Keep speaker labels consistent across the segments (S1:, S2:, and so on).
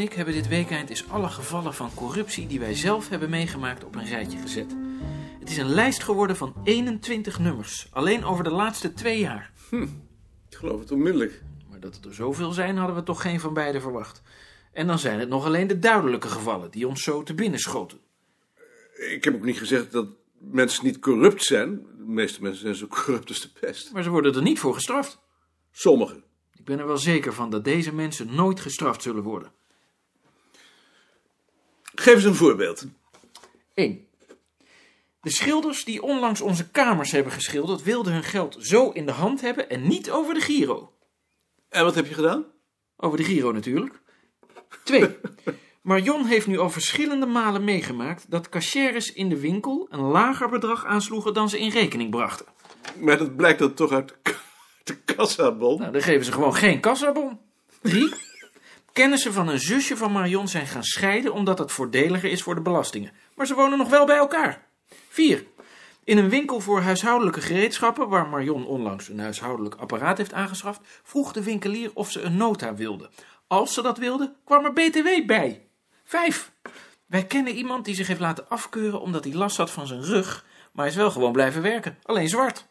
S1: ik hebben dit weekend eens alle gevallen van corruptie die wij zelf hebben meegemaakt op een rijtje gezet. Het is een lijst geworden van 21 nummers, alleen over de laatste twee jaar.
S2: Ik geloof het onmiddellijk.
S1: Maar dat het er zoveel zijn, hadden we toch geen van beide verwacht. En dan zijn het nog alleen de duidelijke gevallen die ons zo te binnen schoten.
S2: Ik heb ook niet gezegd dat mensen niet corrupt zijn. De meeste mensen zijn zo corrupt als de pest.
S1: Maar ze worden er niet voor gestraft.
S2: Sommigen.
S1: Ik ben er wel zeker van dat deze mensen nooit gestraft zullen worden.
S2: Geef eens een voorbeeld.
S1: 1. De schilders die onlangs onze kamers hebben geschilderd, wilden hun geld zo in de hand hebben en niet over de Giro.
S2: En wat heb je gedaan?
S1: Over de Giro natuurlijk. 2. Marion heeft nu al verschillende malen meegemaakt dat cashieres in de winkel een lager bedrag aansloegen dan ze in rekening brachten.
S2: Maar dat blijkt dan toch uit de, k- de kassabon.
S1: Nou, dan geven ze gewoon geen kassabon. 3. Kennissen van een zusje van Marion zijn gaan scheiden omdat dat voordeliger is voor de belastingen. Maar ze wonen nog wel bij elkaar. 4. In een winkel voor huishoudelijke gereedschappen, waar Marion onlangs een huishoudelijk apparaat heeft aangeschaft, vroeg de winkelier of ze een nota wilde. Als ze dat wilde, kwam er BTW bij. 5. Wij kennen iemand die zich heeft laten afkeuren omdat hij last had van zijn rug, maar is wel gewoon blijven werken, alleen zwart.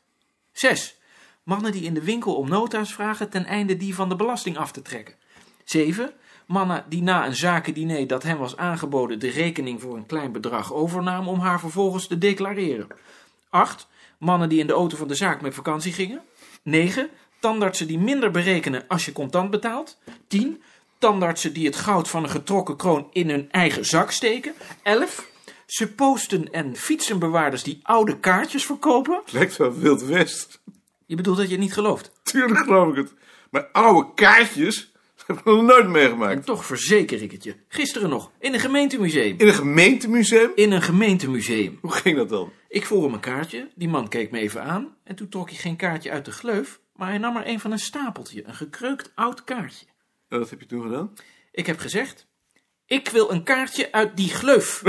S1: 6. Mannen die in de winkel om nota's vragen ten einde die van de belasting af te trekken. 7. Mannen die na een zakendiner dat hem was aangeboden de rekening voor een klein bedrag overnamen om haar vervolgens te declareren. 8. Mannen die in de auto van de zaak met vakantie gingen. 9. Tandartsen die minder berekenen als je contant betaalt. 10. Tandartsen die het goud van een getrokken kroon in hun eigen zak steken. 11. Supposten en fietsenbewaarders die oude kaartjes verkopen.
S2: Lijkt wel Wild West.
S1: Je bedoelt dat je het niet gelooft.
S2: Tuurlijk geloof ik het. Maar oude kaartjes, dat heb ik nog nooit meegemaakt.
S1: En toch verzeker ik het je. Gisteren nog, in een gemeentemuseum.
S2: In een gemeentemuseum?
S1: In een gemeentemuseum.
S2: Hoe ging dat dan?
S1: Ik vroeg hem een kaartje, die man keek me even aan. En toen trok hij geen kaartje uit de gleuf, maar hij nam er een van een stapeltje, een gekreukt oud kaartje.
S2: En wat heb je toen gedaan?
S1: Ik heb gezegd, ik wil een kaartje uit die gleuf.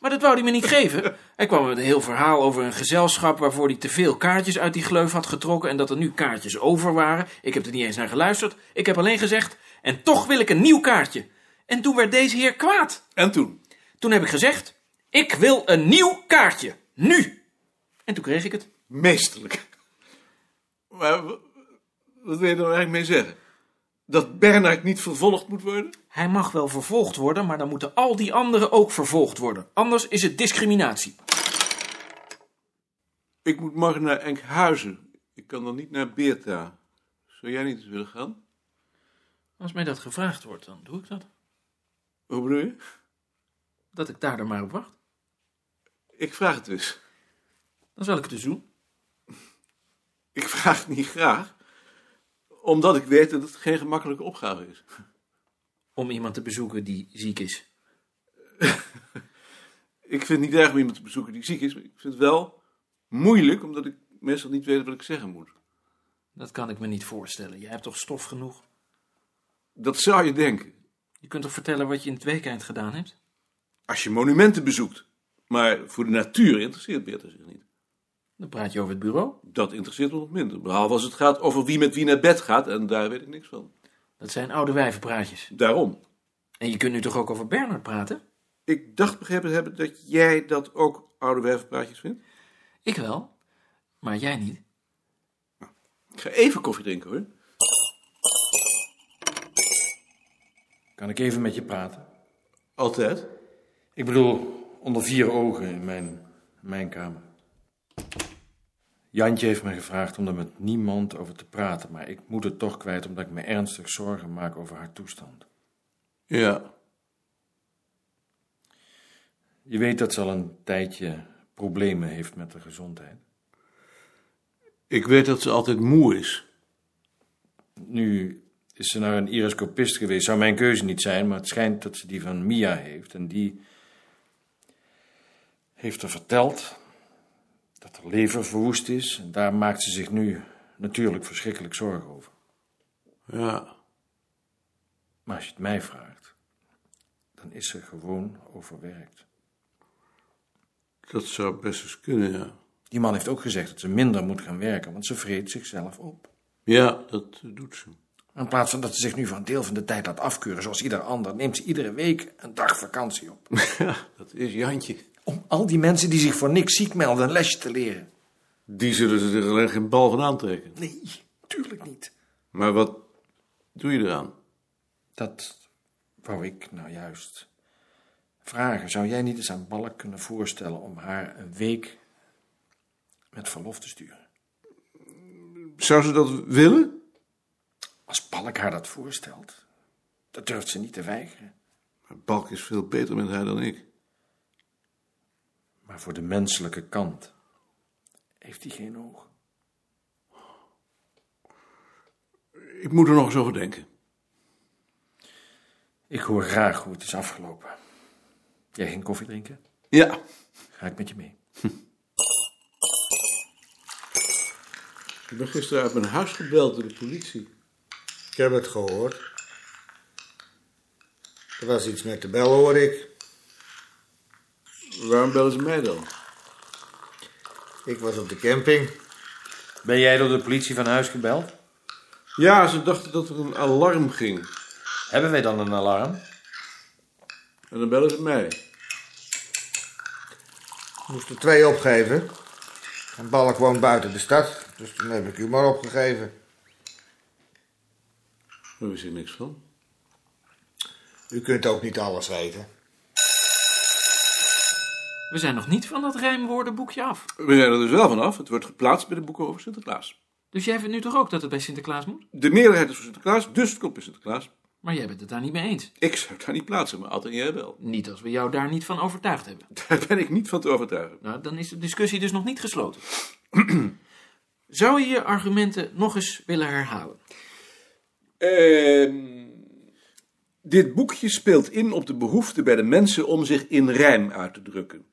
S1: maar dat wou hij me niet geven. Hij kwam met een heel verhaal over een gezelschap waarvoor hij te veel kaartjes uit die gleuf had getrokken en dat er nu kaartjes over waren. Ik heb er niet eens naar geluisterd. Ik heb alleen gezegd, en toch wil ik een nieuw kaartje. En toen werd deze heer kwaad.
S2: En toen?
S1: Toen heb ik gezegd: Ik wil een nieuw kaartje. Nu! En toen kreeg ik het.
S2: Meesterlijk. Maar w- wat wil je er nou eigenlijk mee zeggen? Dat Bernard niet vervolgd moet worden?
S1: Hij mag wel vervolgd worden, maar dan moeten al die anderen ook vervolgd worden. Anders is het discriminatie.
S2: Ik moet morgen naar Enkhuizen. Ik kan dan niet naar Beerta. Zou jij niet eens willen gaan?
S1: Als mij dat gevraagd wordt, dan doe ik dat.
S2: Hoe bedoel je?
S1: Dat ik daar dan maar op wacht.
S2: Ik vraag het dus.
S1: Dan zal ik het dus doen.
S2: Ik vraag het niet graag, omdat ik weet dat het geen gemakkelijke opgave is.
S1: Om iemand te bezoeken die ziek is.
S2: Ik vind het niet erg om iemand te bezoeken die ziek is, maar ik vind het wel moeilijk, omdat ik meestal niet weet wat ik zeggen moet.
S1: Dat kan ik me niet voorstellen. Je hebt toch stof genoeg?
S2: Dat zou je denken,
S1: Je kunt toch vertellen wat je in het weekend gedaan hebt?
S2: als je monumenten bezoekt. Maar voor de natuur interesseert Beerta zich niet.
S1: Dan praat je over het bureau.
S2: Dat interesseert me nog minder, behalve als het gaat over wie met wie naar bed gaat, en daar weet ik niks van.
S1: Dat zijn oude wijvenpraatjes.
S2: Daarom.
S1: En je kunt nu toch ook over Bernard praten?
S2: Ik dacht begrepen te hebben dat jij dat ook oude werfpraatjes vindt.
S1: Ik wel, maar jij niet.
S2: Ik ga even koffie drinken hoor.
S3: Kan ik even met je praten?
S2: Altijd.
S3: Ik bedoel, onder vier ogen in mijn, in mijn kamer. Jantje heeft me gevraagd om er met niemand over te praten, maar ik moet het toch kwijt omdat ik me ernstig zorgen maak over haar toestand.
S2: Ja.
S3: Je weet dat ze al een tijdje problemen heeft met haar gezondheid.
S2: Ik weet dat ze altijd moe is.
S3: Nu is ze naar een iriscopist geweest, zou mijn keuze niet zijn, maar het schijnt dat ze die van Mia heeft. En die heeft haar verteld dat haar lever verwoest is. En daar maakt ze zich nu natuurlijk verschrikkelijk zorgen over.
S2: Ja.
S3: Maar als je het mij vraagt, dan is ze gewoon overwerkt.
S2: Dat zou best eens kunnen, ja.
S3: Die man heeft ook gezegd dat ze minder moet gaan werken, want ze vreet zichzelf op.
S2: Ja, dat doet ze.
S3: In plaats van dat ze zich nu van deel van de tijd laat afkeuren zoals ieder ander, neemt ze iedere week een dag vakantie op.
S2: Dat is Jantje.
S3: Om al die mensen die zich voor niks ziek melden een lesje te leren.
S2: Die zullen ze er alleen geen bal van aantrekken.
S3: Nee, tuurlijk niet.
S2: Maar wat doe je eraan?
S3: Dat wou ik nou juist vragen. Zou jij niet eens aan Balk kunnen voorstellen om haar een week met verlof te sturen?
S2: Zou ze dat willen?
S3: Als Balk haar dat voorstelt, dat durft ze niet te weigeren.
S2: Maar Balk is veel beter met haar dan ik.
S3: Maar voor de menselijke kant heeft hij geen oog.
S2: Ik moet er nog eens over denken.
S3: Ik hoor graag hoe het is afgelopen. Jij ging koffie drinken?
S2: Ja.
S3: Ga ik met je mee?
S2: Ik ben gisteren uit mijn huis gebeld door de politie.
S4: Ik heb het gehoord. Er was iets met de bel, hoor ik.
S2: Waarom bellen ze mij dan?
S4: Ik was op de camping.
S3: Ben jij door de politie van huis gebeld?
S2: Ja, ze dachten dat er een alarm ging.
S3: Hebben wij dan een alarm?
S2: En dan bellen ze mij.
S4: Ik moest er twee opgeven. En Balk woont buiten de stad, dus toen heb ik u maar opgegeven.
S2: Daar wist ik niks van.
S4: U kunt ook niet alles weten.
S1: We zijn nog niet van dat rijmwoordenboekje af.
S2: We zijn er dus wel vanaf. Het wordt geplaatst bij de boeken over Sinterklaas.
S1: Dus jij vindt nu toch ook dat het bij Sinterklaas moet?
S2: De meerderheid is voor Sinterklaas, dus het komt bij Sinterklaas.
S1: Maar jij bent het daar niet mee eens.
S2: Ik zou daar niet plaatsen, maar Ad en jij wel.
S1: Niet als we jou daar niet van overtuigd hebben.
S2: Daar ben ik niet van te overtuigen.
S1: Nou, dan is de discussie dus nog niet gesloten. Zou je je argumenten nog eens willen herhalen?
S2: Ehm, dit boekje speelt in op de behoefte bij de mensen om zich in rijm uit te drukken.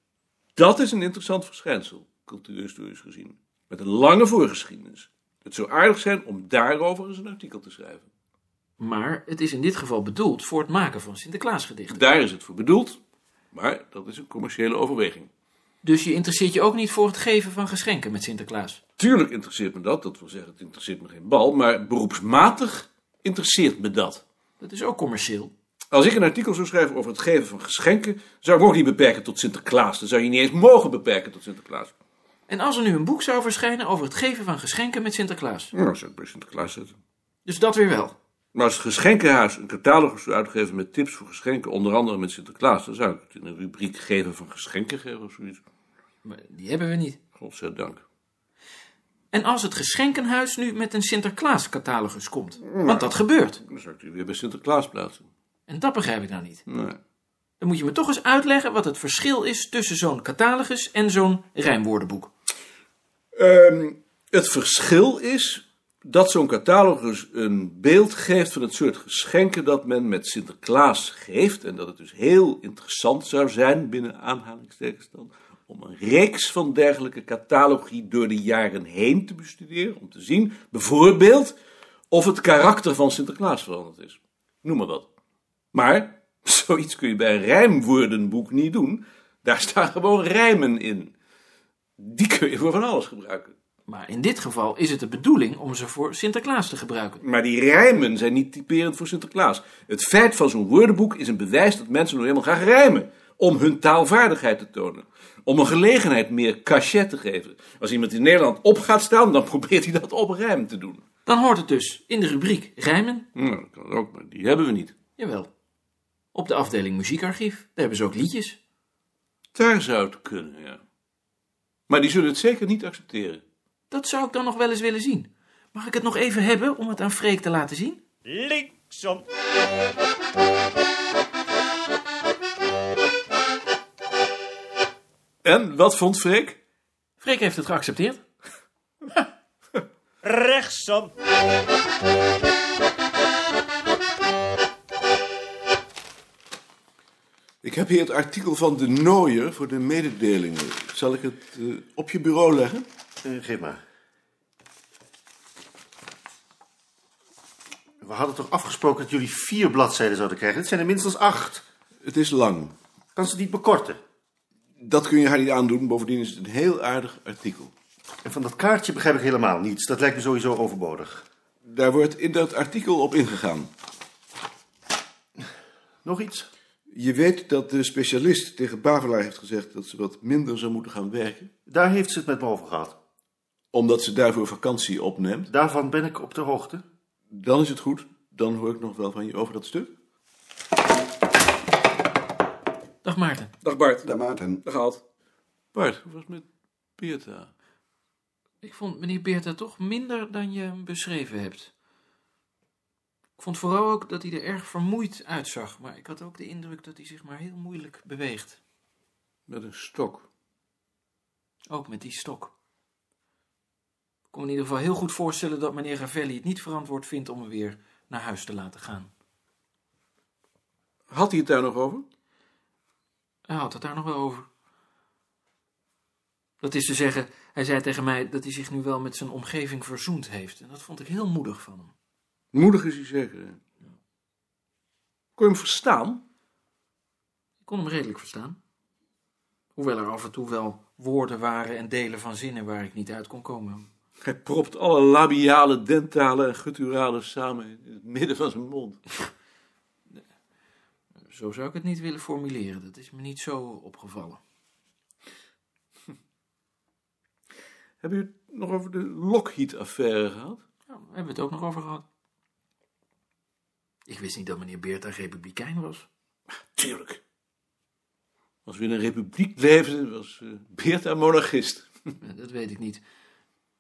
S2: Dat is een interessant verschijnsel, cultuurhistorisch gezien. Met een lange voorgeschiedenis. Het zou aardig zijn om daarover eens een artikel te schrijven.
S1: Maar het is in dit geval bedoeld voor het maken van Sinterklaasgedichten.
S2: Daar is het voor bedoeld, maar dat is een commerciële overweging.
S1: Dus je interesseert je ook niet voor het geven van geschenken met Sinterklaas.
S2: Tuurlijk interesseert me dat, dat wil zeggen, het interesseert me geen bal, maar beroepsmatig interesseert me dat.
S1: Dat is ook commercieel.
S2: Als ik een artikel zou schrijven over het geven van geschenken, zou ik me ook niet beperken tot Sinterklaas. Dan zou je niet eens mogen beperken tot Sinterklaas.
S1: En als er nu een boek zou verschijnen over het geven van geschenken met Sinterklaas.
S2: Nou, dan zou ik bij Sinterklaas zetten.
S1: Dus dat weer wel.
S2: Maar als het geschenkenhuis een catalogus zou uitgeven met tips voor geschenken, onder andere met Sinterklaas, dan zou ik het in een rubriek geven van geschenken geven of zoiets.
S1: Maar die hebben we niet.
S2: Godzijdank.
S1: En als het geschenkenhuis nu met een Sinterklaas-catalogus komt. Want dat gebeurt.
S2: Dan zou ik die weer bij Sinterklaas plaatsen.
S1: En dat begrijp ik nou niet.
S2: Nee.
S1: Dan moet je me toch eens uitleggen wat het verschil is tussen zo'n catalogus en zo'n rijmwoordenboek.
S2: Ehm, het verschil is dat zo'n catalogus dus een beeld geeft van het soort geschenken dat men met Sinterklaas geeft. En dat het dus heel interessant zou zijn, binnen aanhalingstekens dan, om een reeks van dergelijke catalogi door de jaren heen te bestuderen. Om te zien, bijvoorbeeld, of het karakter van Sinterklaas veranderd is. Noem maar wat. Maar zoiets kun je bij een rijmwoordenboek niet doen. Daar staan gewoon rijmen in. Die kun je voor van alles gebruiken.
S1: Maar in dit geval is het de bedoeling om ze voor Sinterklaas te gebruiken.
S2: Maar die rijmen zijn niet typerend voor Sinterklaas. Het feit van zo'n woordenboek is een bewijs dat mensen nog helemaal graag rijmen. Om hun taalvaardigheid te tonen. Om een gelegenheid meer cachet te geven. Als iemand in Nederland op gaat staan, dan probeert hij dat op rijm te doen.
S1: Dan hoort het dus in de rubriek rijmen.
S2: Nou, dat kan ook, maar die hebben we niet.
S1: Jawel. Op de afdeling muziekarchief. Daar hebben ze ook liedjes.
S2: Daar zou het kunnen, ja. Maar die zullen het zeker niet accepteren.
S1: Dat zou ik dan nog wel eens willen zien. Mag ik het nog even hebben om het aan Freek te laten zien?
S5: linksom,
S2: En wat vond Freek?
S1: Freek heeft het geaccepteerd.
S5: rechtsom,
S2: Ik heb hier het artikel van de Nooier voor de mededelingen. Zal ik het eh, op je bureau leggen?
S6: Eh, geef maar. We hadden toch afgesproken dat jullie vier bladzijden zouden krijgen? Dit zijn er minstens acht.
S2: Het is lang.
S6: Kan ze niet bekorten?
S2: Dat kun je haar niet aandoen. Bovendien is het een heel aardig artikel.
S6: En van dat kaartje begrijp ik helemaal niets. Dat lijkt me sowieso overbodig.
S2: Daar wordt in dat artikel op ingegaan.
S6: Nog iets?
S2: Je weet dat de specialist tegen Bavelaar heeft gezegd dat ze wat minder zou moeten gaan werken.
S6: Daar heeft ze het met me over gehad.
S2: Omdat ze daarvoor vakantie opneemt.
S6: Daarvan ben ik op de hoogte.
S2: Dan is het goed. Dan hoor ik nog wel van je over dat stuk.
S1: Dag Maarten.
S2: Dag Bart.
S7: Daar Maarten.
S2: Dag Alt. Bart, hoe was het met Beerta?
S1: Ik vond meneer Beerta toch minder dan je hem beschreven hebt. Ik vond vooral ook dat hij er erg vermoeid uitzag, maar ik had ook de indruk dat hij zich maar heel moeilijk beweegt.
S2: Met een stok.
S1: Ook met die stok. Ik kon me in ieder geval heel goed voorstellen dat meneer Ravelli het niet verantwoord vindt om hem weer naar huis te laten gaan.
S2: Had hij het daar nog over?
S1: Hij had het daar nog wel over. Dat is te zeggen, hij zei tegen mij dat hij zich nu wel met zijn omgeving verzoend heeft. En dat vond ik heel moedig van hem.
S2: Moedig is hij zeker. hè? Kon je hem verstaan?
S1: Ik kon hem redelijk verstaan. Hoewel er af en toe wel woorden waren en delen van zinnen waar ik niet uit kon komen.
S2: Hij propt alle labiale, dentale en gutturale samen in het midden van zijn mond.
S1: Zo zou ik het niet willen formuleren, dat is me niet zo opgevallen.
S2: Hebben jullie het nog over de Lockheed-affaire gehad?
S1: Ja, daar hebben we het ook nog over gehad. Ik wist niet dat meneer Beerta republikein was.
S2: Tuurlijk. Als we in een republiek leefden, was eh, Beerta monarchist.
S1: Dat weet ik niet.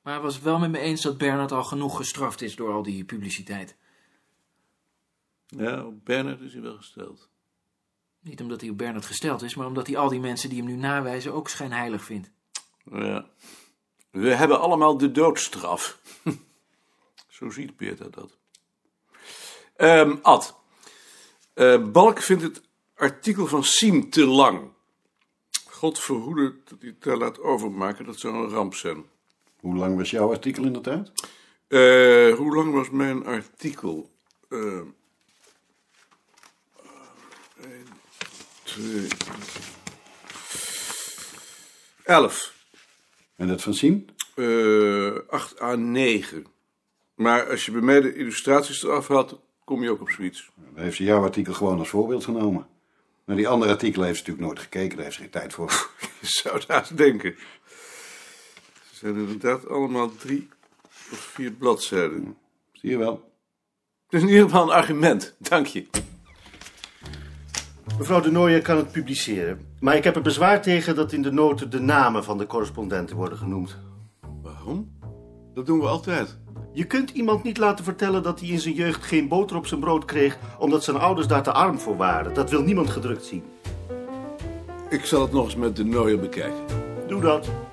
S1: Maar hij was wel met me eens dat Bernard al genoeg gestraft is door al die publiciteit.
S2: Ja, op Bernard is hij wel gesteld.
S1: Niet omdat hij op Bernard gesteld is, maar omdat hij al die mensen die hem nu nawijzen ook schijnheilig vindt.
S2: Ja. We hebben allemaal de doodstraf. Zo ziet Beerta dat. Ehm, Ad. Eh, Balk vindt het artikel van Siem te lang. God verhoede dat hij het daar laat overmaken. Dat zou een ramp zijn.
S7: Hoe lang was jouw artikel in de tijd?
S2: Eh, hoe lang was mijn artikel? Eh, één, twee, elf.
S7: En dat van Siem?
S2: Eh, 8 à 9. Maar als je bij mij de illustraties eraf haalt, kom je ook op zoiets.
S7: Dan heeft ze jouw artikel gewoon als voorbeeld genomen. Naar die andere artikelen heeft ze natuurlijk nooit gekeken, daar heeft ze geen tijd voor.
S2: Je zou het haast denken. Ze zijn inderdaad allemaal drie of vier bladzijden.
S7: Zie je wel.
S2: Het is in ieder geval een argument. Dank je.
S6: Mevrouw de Nooijer kan het publiceren. Maar ik heb er bezwaar tegen dat in de noten de namen van de correspondenten worden genoemd.
S2: Waarom? Dat doen we altijd.
S6: Je kunt iemand niet laten vertellen dat hij in zijn jeugd geen boter op zijn brood kreeg... omdat zijn ouders daar te arm voor waren. Dat wil niemand gedrukt zien.
S2: Ik zal het nog eens met de Nooier bekijken.
S6: Doe dat.